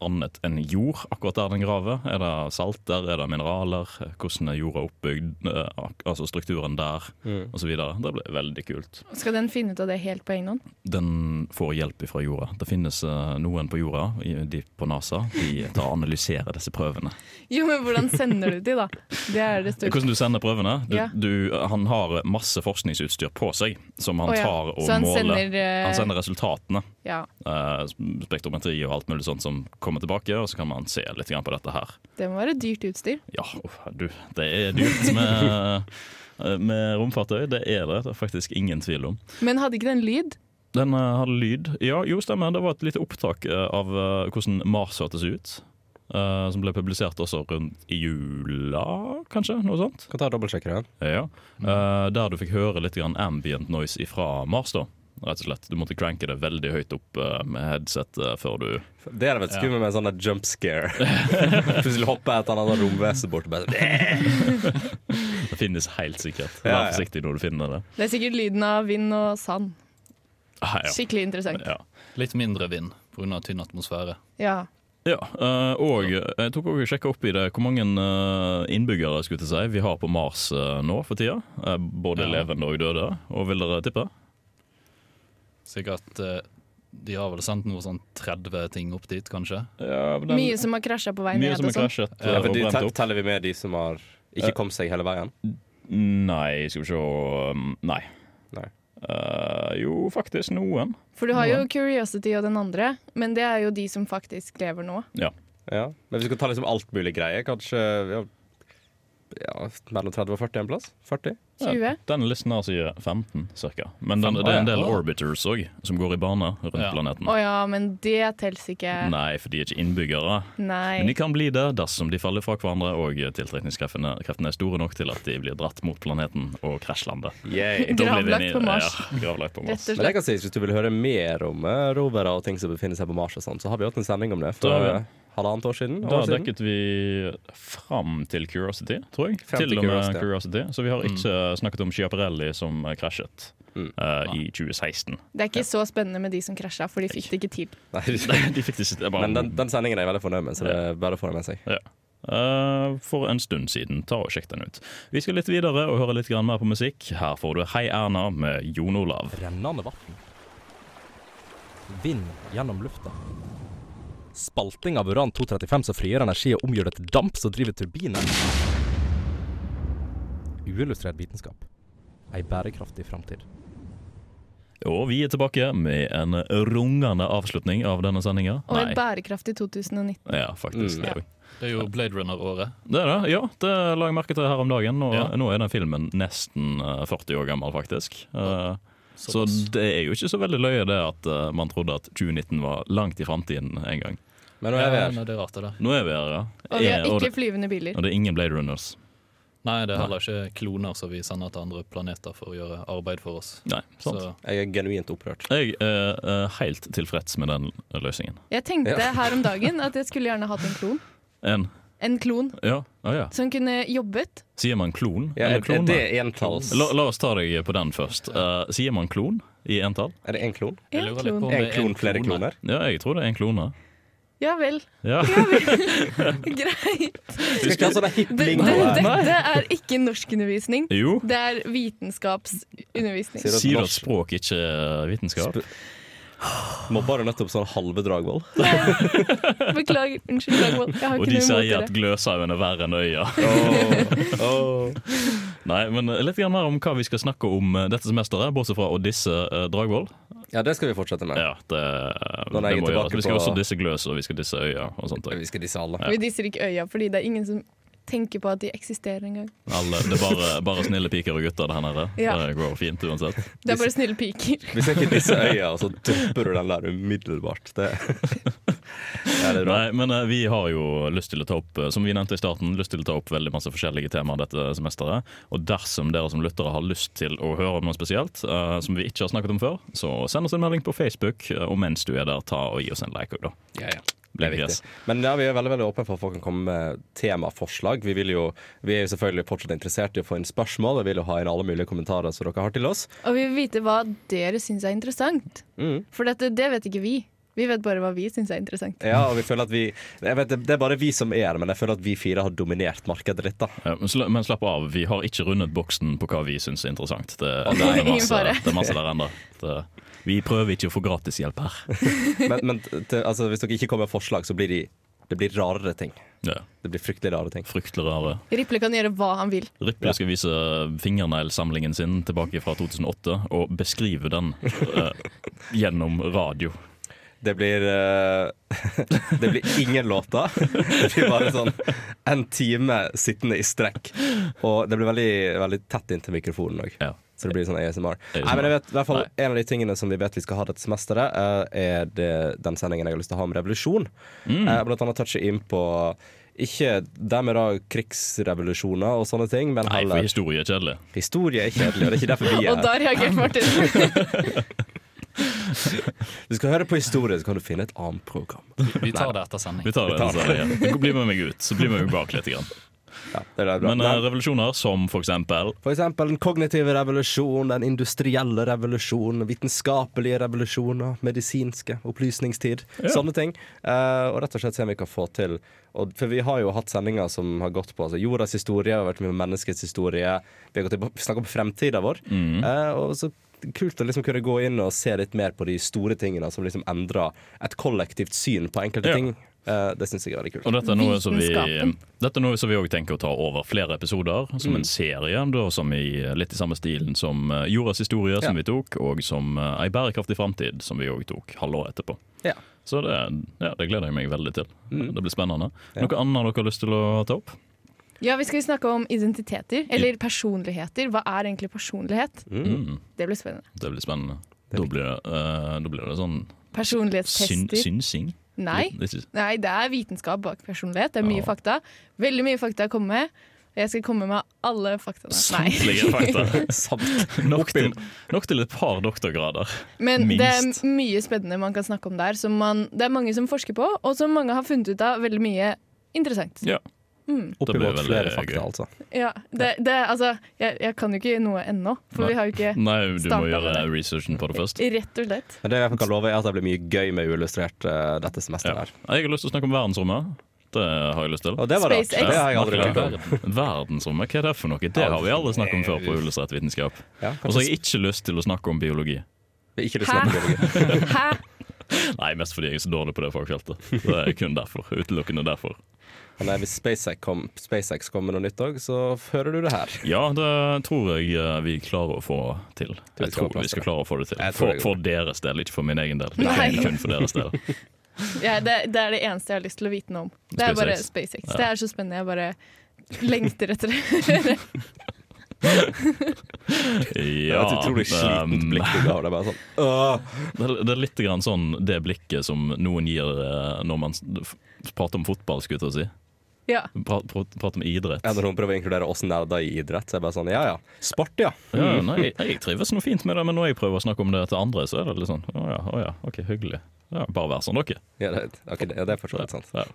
annet enn jord akkurat der den graver. Er det salter, er det mineraler? Hvordan er jorda oppbygd? Eh, ak- Altså strukturen der,
Mm.
osv. Det blir veldig kult.
Skal den finne ut av det helt på egen hånd?
Den får hjelp fra jorda. Det finnes eh, noen på jorda, i- de på NASA. De tar og analyserer disse prøvene.
Jo, men hvordan sender du de, da? Det er det store.
Hvordan du sender prøvene? Du,
Ja.
du, han har masse forskningsutstyr på seg som han
Å ja,
tar og
Så han
måler.
sender, eh,
Han sender resultatene.
Ja,
eh, spektrometri og alt mulig sånt som kommer tilbake, og så kan man se litt grann på dette her.
det må være dyrt utstyr.
Ja, uff, du, det er dyrt med, eh, med romfartøy. Det er det. Det er faktisk ingen tvil om.
Men hadde ikke den lyd?
Den eh, hadde lyd. Ja, jo, stemmer. Det var et lite opptak eh, av eh, hvordan Mars hørtes ut. eh, som ble publisert også rundt i jula, kanskje? Noe sånt.
Kan ta og dobbeltsjekke det.
Ja. Eh, der du fikk høre litt grann ambient noise ifra Mars, da. Rett og slett. Du måtte cranke det veldig høyt opp eh, med headset eh, før du
Det hadde vært skummelt med en sånn der jump [LAUGHS] scare. Plutselig hopper et eller annet romvesen bort og bare
Det finnes helt sikkert.
Ja,
Vær
ja.
forsiktig når du finner det.
Det er sikkert lyden av vind og sand.
Ah, ja.
Skikkelig interessant.
Ja.
Litt mindre vind pga. tynn atmosfære.
Ja.
Ja, eh, og jeg tok også og sjekka opp i det hvor mange eh, innbyggere skulle jeg til å si, vi har på Mars eh, nå for tida. Eh, Både
Ja.
levende og døde. Og vil dere tippe?
Sikkert eh, De har vel sendt noe sånn 30 ting opp dit, kanskje?
Mye som har krasja på veien
mye
ned
som
og
er
sånn.
krasjet eh,
Ja,
og
for de
brent
tell-
opp.
teller vi med de som har ikke kommet seg hele veien?
Nei, skal vi se um, Nei.
Nei.
Eh, jo, faktisk noen.
For du har jo Curiosity og den andre, men det er jo de som faktisk lever nå.
Ja. Men hvis vi skal ta liksom alt mulig greie, kanskje ja, ja, mellom 30 og 40 en plass? 40?
20.
Denne listen her sier 15 ca. Men den,
Fem-
det er
Å,
en del
ja.
orbiters òg, som går i bane rundt
Ja.
planeten.
Å ja, men det telles ikke.
Nei, for de er ikke innbyggere. Men de
Nei.
kan bli det dersom de faller fra hverandre og tiltrekningskreftene kreftene er store nok til at de blir dratt mot planeten og krasjlander.
Yay.
Da blir de
Gravlagt på
ned-
Mars.
Ja, gravlagt på Mars.
Rett og
Men jeg
slett.
kan si, Hvis du vil høre mer om eh, rovere og ting som befinner seg på Mars, og sånn, så har vi hatt en sending om det for
Da har vi.
eh, halvannet år siden.
Da
År siden.
dekket vi fram til Curiosity, tror jeg.
Frem
Til,
til
og med
Curiosity.
Curiosity. Så vi har ikke eh, snakket om Schiaparelli som eh, krasjet
Mm.
eh, i
[LAUGHS]
2016.
Det er ikke så spennende med de som krasja, for de fikk det ikke tid.
Nei,
De fikk det ikke det er bare,
Men den, den sendingen er jeg veldig fornøyd med, så det er bare å få den med seg.
Eh, for en stund siden. Ta og Sjekk den ut. Vi skal litt videre og høre litt grann mer på musikk. Her får du Hei Erna med Jon Olav.
Rennende vann. Vind gjennom lufta. Spalting av uran-235 som frigjør energi og omgjør det til damp som driver turbiner. Uillustrert vitenskap. Ei bærekraftig framtid.
Og vi er tilbake med en rungende avslutning av denne sendinga.
Og et bærekraftig 2019.
Ja, faktisk.
Mm.
Det, er jo-
Det er jo Blade Runner-året.
det er det. Ja, det la jeg merke til her om dagen. Og
Ja.
nå er den filmen nesten eh, 40 år gammel, faktisk. Eh, så
Såpass.
det er jo ikke så veldig løye det at eh, man trodde at 2019 var langt i framtiden en gang.
Men nå er vi
Ja,
her.
nei, det er rart, det der.
Nå er vi her, ja.
Og vi
Eh,
har
og, det,
ikke flyvende biler.
og det er ingen Blade Runners.
Nei, det er heller ikke kloner som vi sender til andre planeter for å gjøre arbeid for oss.
Nei, sant.
Så
Jeg er genuint opprørt.
Jeg er eh, helt tilfreds med den løsningen.
Jeg tenkte
Ja.
her om dagen at jeg skulle gjerne hatt en klon.
En,
En klon
ja, å ja.
som kunne jobbet.
Sier man klon?
Ja,
eller
er, er
klone?
det entalls?
La, la oss ta deg på den først. Eh, sier man klon i entall?
Er det én klon?
jeg
En
lurer litt på
klon.
om det
Én
er
klon, flere
klone.
kloner?
Ja, jeg tror det er en klone.
Ja vel. [LAUGHS]
Ja.
Greit.
Skal altså ikke ha sånne hipp
Det-
lingo
det-
her.
Dette er ikke norskundervisning.
Jo.
Det er
Sier
vitenskapsundervisning.
du at
Sier du at
norsk-
språk ikke er vitenskap?
Mobber du nettopp sånn halve Dragvoll?
[LAUGHS] Beklager. Unnskyld, Dagvold. Jeg har
Og
ikke
de
noe imot
sier
dere.
at gløshaugen er verre enn øya. Nei, men litt grann mer om hva vi skal snakke om eh, dette semesteret, bortsett fra å disse eh, Dragvoll.
Ja, det skal vi fortsette med.
Ja, det,
Når
det
jeg er
må
tilbake
gjøres. Vi skal
på-
også disse gløs, og vi skal disse øya og sånt.
Vi skal disse alle.
Vi disser ikke øya, fordi det er ingen som tenker på at de eksisterer engang.
Alle, det er bare, bare snille piker og gutter der nede.
Ja.
Det går fint uansett.
Det er bare snille piker.
Vi skal ikke disse øya, og så dupper du den der umiddelbart. Det, [LAUGHS] ja, det er bra.
Nei, men eh, vi har jo lyst til å ta opp eh, som vi nevnte i starten, lyst til å ta opp veldig masse forskjellige temaer dette semesteret. Og dersom dere som lyttere har lyst til å høre om noe spesielt eh, som vi ikke har snakket om før, så send oss en melding på Facebook. eh, Og mens du er der, ta og gi oss en like òg, da.
Ja, ja. Det er
Blir gress.
viktig. Men ja, vi er veldig veldig åpne for at folk kan komme med temaforslag. Vi, vil jo, vi er jo selvfølgelig fortsatt interessert i å få inn spørsmål. Vi vil jo ha inn alle mulige kommentarer som dere har til oss.
[LAUGHS] Og vi vil vite hva dere syns er interessant.
Mm.
For dette, det vet ikke vi. Vi vet bare hva vi syns er interessant.
Ja, og vi føler at vi jeg vet, Det det er bare vi som er her, men jeg føler at vi fire har dominert markedet litt. [LAUGHS] da
Ja, men sla- Men slapp av, vi har ikke rundet boksen på hva vi syns er interessant. Det, det,
nei.
er, masse,
Ingen fare.
det er masse der ennå. Det- Vi prøver ikke å få gratishjelp her.
Men, men til, altså, hvis dere ikke kommer med forslag, så blir de, det blir rarere ting.
Ja,
Det blir fryktelig rare ting.
fryktelig rare.
Riple kan gjøre hva han vil.
Ripley skal vise fingerneglsamlingen sin tilbake fra 2008 og beskrive den [LAUGHS] eh, gjennom radio.
Det blir eh, [LAUGHS] Det blir ingen låter. Det blir bare sånn en time sittende i strekk. Og det blir veldig, veldig tett inntil mikrofonen òg.
Ja.
Så det blir sånn ASMR.
ASMR.
Nei, men jeg vet, i hvert fall,
Nei.
En av de tingene som vi vet vi skal ha dette semesteret, eh, er det, den sendingen jeg har lyst til å ha om revolusjon.
Mm.
Eh, blant annet touche inn på ikke dermed da krigsrevolusjoner og sånne ting, men
Nei, for
heller
historie er kjedelig.
Historie er kjedelig, og det er ikke derfor
[LAUGHS]
vi er
Og da
her.
reagerte Martin.
Du skal høre på historie, så kan du finne et annet program.
Vi tar det etter sending.
Vi tar det. så er det igjen. Bli med meg ut, så blir vi bak litt. [LAUGHS] Grann.
Ja, det er bra.
Men eh,
Nei.
revolusjoner som for eksempel
For eksempel den kognitive revolusjon, den industrielle revolusjon, vitenskapelige revolusjoner, medisinske, opplysningstid. Sånne ting. Eh, og rett og slett se om vi kan få til og, For vi har jo hatt sendinger som har gått på altså, jordas historie, vi har vært mye på menneskets historie, vi har gått til, snakket om fremtida vår.
Mm.
Eh, og så kult å liksom kunne gå inn og se litt mer på de store tingene som liksom endrer et kollektivt syn på enkelte
Ja.
ting. Eh, det syns jeg er veldig kult.
Og dette er noe som vi
Vitenskapen.
Dette er noe som vi også tenker å ta over flere episoder, som en serie. Da, som i, eh, litt i samme stilen som eh, Jordas historie, som vi tok, og som eh, Ei bærekraftig framtid, som vi òg tok halvåret etterpå.
Ja.
Så det, ja, det gleder jeg meg veldig til. Det blir spennende.
Ja.
Noe annet dere har lyst til å ta opp?
Ja, vi skal snakke om identiteter. Eller personligheter. Hva er egentlig personlighet?
Mm.
Det blir spennende.
Det blir spennende. Da blir det, eh, da blir det sånn syn,
Personlighetstester.
synsing.
Nei.
Det, det,
Nei, det er vitenskap bak personlighet. Det er mye
Ja.
fakta. Veldig mye fakta å komme med. Og jeg skal komme med alle faktaene. Nei. [LAUGHS]
samtlige fakta.
Samt
Nok til, nok til et par doktorgrader.
Men det
Minst.
er mye spennende man kan snakke om der. Som man, det er mange som forsker på, og som mange har funnet ut av veldig mye interessant.
Ja. Det blir
oppimot
veldig
flere
gøy.
fakta, altså.
Ja, det, det, altså, jeg, jeg kan jo ikke noe ennå, for
Nei.
vi har jo ikke
Nei, du må
Starta med
gjøre
det.
researchen på det først.
Rett og slett.
Men det jeg i hvert fall kan love, er at det blir mye gøy med uillustrert eh, dette semesteret.
Ja.
her.
Jeg har lyst til å snakke om verdensrommet. Det har jeg lyst til.
Og det var rart.
SpaceX.
Det har jeg aldri hørt om.
Verden- Verdensrommet, hva er det for noe? Det har vi alle snakket om før på Ullestrett vitenskap.
Ja,
Og så har jeg ikke lyst til å snakke om biologi.
kanskje ikke lyst til å
Hæ?
snakke om biologi.
Hæ?
Nei, mest fordi jeg er så dårlig på det fagfeltet. Det er kun derfor. Utelukkende derfor.
Men nei, hvis SpaceX, kom, SpaceX kommer med noe nytt òg, så hører du det her.
Ja, det tror jeg eh, vi klarer å få til. Jeg
skal ha
tror vi
plass til
skal klare å få det til.
Jeg tror
For,
det går.
for deres del, ikke for min egen del.
Nei.
Kun, kun for deres
[LAUGHS]
del.
Ja, det, det er det eneste jeg har lyst til å vite noe om. Det er bare SpaceX. Det er så spennende. Jeg bare lengter etter det. [LAUGHS]
Ja,
det er et utrolig slitent
ehm,
blikk du ga. Det er [LAUGHS] bare sånn.
Det er, det er litt grann sånn det blikket som noen gir eh, når man s- f- prater om fotball, skulle jeg til å si.
Ja.
Pra- pra- Prater om idrett.
Ja, når hun prøver å inkludere oss nerder i idrett, så er jeg bare sånn ja ja. Sport, ja.
Ja, nei, jeg trives noe fint med det, men når jeg prøver å snakke om det til andre, så er det litt sånn Å ja, å ja, ok, hyggelig. Ja, bare vær som dere.
Ja, det, ok, det, ja, det er for så vidt sant.
Ja.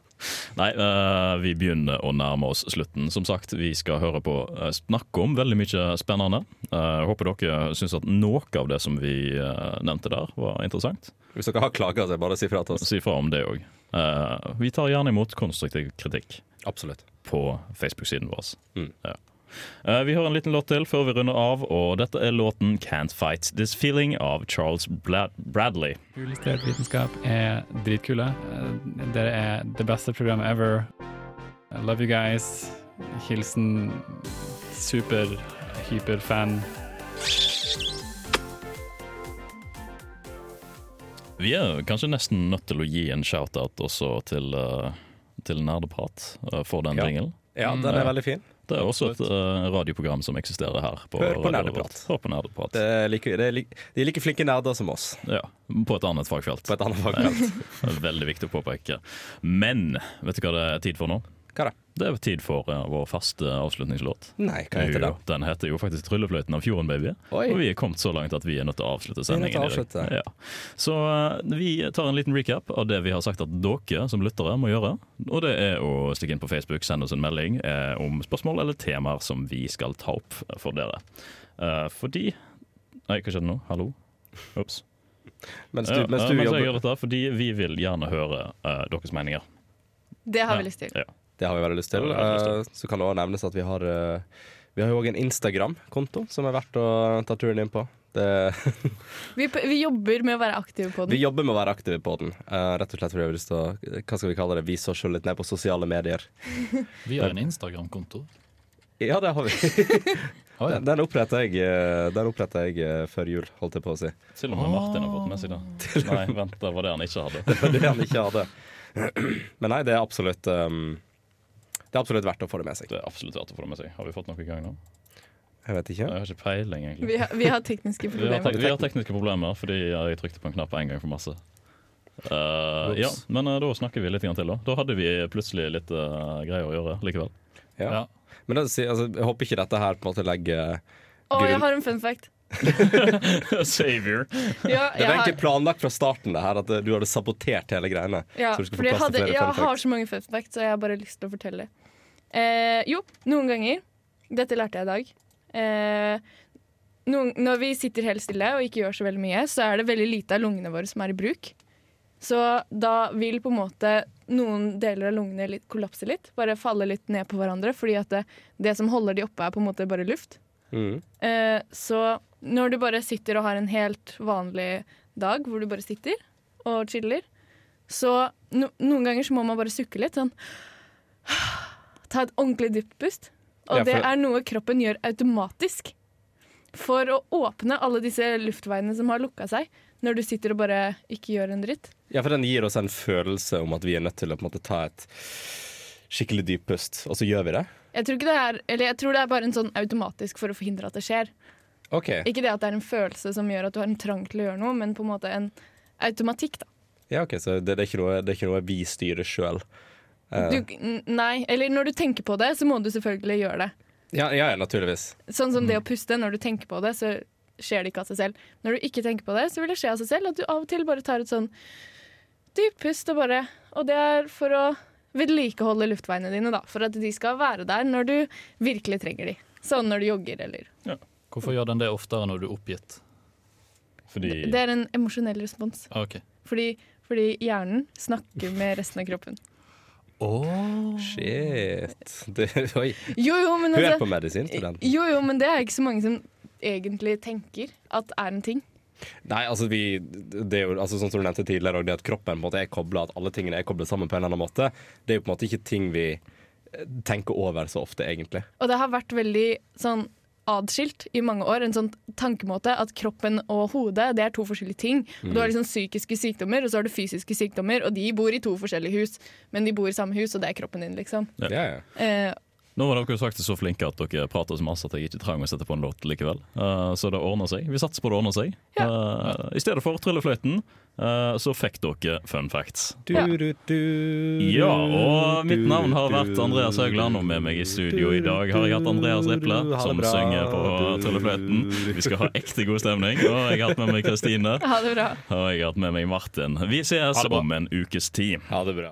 Nei, eh, vi begynner å nærme oss slutten. Som sagt, vi skal høre på eh, snakke om veldig mye spennende. Eh, håper dere syns at noe av det som vi eh, nevnte der, var interessant.
Hvis dere har klager, så er det bare å si fra til oss.
Si fra om det òg. vi tar gjerne imot konstruktiv kritikk.
Absolutt.
på Facebook-siden vår.
Mm.
Ja. Eh, vi hører en liten låt til før vi runder av, og dette er låten 'Can't Fight This Feeling' av Charles Bla Bradley.
Illustrert vitenskap er dritkule. Eh, Dere er det beste programmet ever. I love you guys. Hilsen super-hyperfan.
Vi er kanskje nesten nødt til å gi en shout-out også til, eh, til Nerdeprat eh, for den
Ja.
jingelen.
Ja, den er veldig fin.
Det er også et eh, radioprogram som eksisterer her. På
Hør på
radioen
Nerdeprat.
vårt. Hør på Nerdeprat.
Det er like, det er like, de er like flinke nerder som oss,
Ja, på et annet fagfelt.
på et annet fagfelt.
Veldig viktig å påpeke. Men vet du hva det er tid for nå?
Hva da?
Det er tid for eh, vår faste avslutningslåt.
Nei, hva heter den?
Jo, den heter jo faktisk 'Tryllefløyten av fjorden, baby'.
Oi.
Og vi er kommet så langt at vi er nødt til å avslutte
Vi er
sendingen.
nødt til å
i dag.
avslutte.
Ja. Så eh, vi tar en liten recap av det vi har sagt at dere som lyttere må gjøre. Og det er å stikke inn på Facebook, sende oss en melding eh, om spørsmål eller temaer som vi skal ta opp for dere. Eh, fordi Nei, hva skjedde nå? Hallo? Ops.
[LAUGHS] Mens du,
Ja,
mens
eh,
du
mens jeg gjør
jobber
dette, fordi vi vil gjerne høre eh, deres meninger.
Det har
Ja.
vi lyst til.
Det har vi veldig lyst til.
Det har vi veldig
Eh, så kan det også nevnes at vi har eh, Vi har jo òg en Instagram-konto som er verdt å ta turen inn på. Det, [LAUGHS]
Vi, p- vi jobber med å være aktive på
vi
den.
jobber med å være aktive på den. Eh, rett og slett fordi vi har lyst til å Hva skal vi kalle det? Vise oss selv litt ned på sosiale medier.
Vi har en Instagram-konto.
Ja, det har vi.
Å, ja.
Den, den oppretta jeg, eh, den opprettet jeg eh, før jul, holdt jeg på å si. [LAUGHS]
Til og med Martin har fått med seg det. Nei, vent, det var det han ikke hadde.
For det [CLEARS THROAT] han ikke hadde. Men nei, det er absolutt um, Det er absolutt verdt å få det med seg.
Det er absolutt verdt å få det med seg. Har vi fått noe i gang nå?
Jeg vet ikke.
Jeg har ikke peiling, egentlig.
Vi har, vi har tekniske
Vi har,
problemer.
tek vi har tekniske problemer fordi jeg trykte på en knapp en gang for masse. Eh, ja, men eh, da snakker vi litt grann til, da. Da hadde vi plutselig litt eh, greier å gjøre likevel. [LAUGHS]
Ja.
Ja.
Men da, si- altså, jeg håper ikke dette her på en måte legger
Å, jeg har en fun fact.
Savior.
Ja,
Det
jeg
var
har,
egentlig planlagt fra starten, det her at eh, du hadde sabotert hele greiene.
ja,
så du skal få
fordi jeg,
plass til
hadde,
flere fun
jeg har
facts.
så mange fun facts, så jeg har bare lyst til å fortelle. Eh, jo, noen ganger Dette lærte jeg i dag. Eh, noen, når vi sitter helt stille og ikke gjør så veldig mye, så er det veldig lite av lungene våre som er i bruk. Så da vil på en måte noen deler av lungene litt, kollapse litt, bare falle litt ned på hverandre, fordi at det, det som holder de oppe, er på en måte bare luft.
Mm.
Eh, så når du bare sitter og har en helt vanlig dag hvor du bare sitter og chiller, så no noen ganger så må man bare sukke litt. Sånn [SIGHS] Ta et ordentlig dypt pust. Og
Ja, for-
det er noe kroppen gjør automatisk for å åpne alle disse luftveiene som har lukka seg, når du sitter og bare ikke gjør en dritt.
Ja, for den gir oss en følelse om at vi er nødt til å på en måte ta et skikkelig dypt pust, og så gjør vi det.
Jeg tror, ikke det er, eller jeg tror det er bare en sånn automatisk for å forhindre at det skjer.
OK.
Ikke det at det er en følelse som gjør at du har en trang til å gjøre noe, men på en måte en automatikk. da.
Ja, ok, Så det, det, er ikke noe, det er ikke noe vi styrer sjøl.
Du, n- nei, eller når du tenker på det, så må du selvfølgelig gjøre det.
Ja, ja, ja, naturligvis.
Sånn som det å puste. Når du tenker på det, så skjer det ikke av seg selv. Når du ikke tenker på det, så vil det skje av seg selv. At du av og til bare tar et sånn dypt pust og bare Og det er for å vedlikeholde luftveiene dine, da. For at de skal være der når du virkelig trenger de. Sånn når du jogger eller
Hvorfor gjør den det oftere når du er oppgitt?
Fordi
Det er en emosjonell respons.
Ah, Ok.
Fordi, fordi hjernen snakker med resten av kroppen.
Shit. [LAUGHS] Det, oi.
Jo, jo, men
Hun er
altså
på medisinstudent.
Jo, jo, men det er ikke så mange som egentlig tenker at er en ting.
Nei, altså vi Det er jo altså, sånn som du nevnte tidligere og Det at kroppen på en måte er koblet At alle tingene er koblet sammen på en eller annen måte Det er jo på en måte ikke ting vi eh, tenker over så ofte egentlig
Og det har vært veldig sånn adskilt i mange år. En sånn tankemåte at kroppen og hodet det er to forskjellige ting. Og du har liksom psykiske sykdommer, og så har du fysiske sykdommer, og de bor i to forskjellige hus. Men de bor i samme hus, og det er kroppen din, liksom.
Ja.
Ja, ja
Eh,
Nå var dere jo faktisk så flinke at dere prater så masse at jeg ikke trenger å sette på en låt likevel. Eh, så det ordner seg. Vi satser på det ordner seg. Eh, I stedet for Tryllefløyten, eh, så fikk dere fun facts.
du,
Ja.
du, du,
Ja, og mitt navn har
du,
vært Andreas Haugland, og med meg i studio i dag har jeg hatt Andreas Riple,
Ha det
som
bra.
synger på Tryllefløyten. Vi skal ha ekte god stemning, og jeg har hatt med meg Kristine,
ha det bra.
og jeg har hatt med meg Martin. Vi ses om en ukes tid.
Ha det bra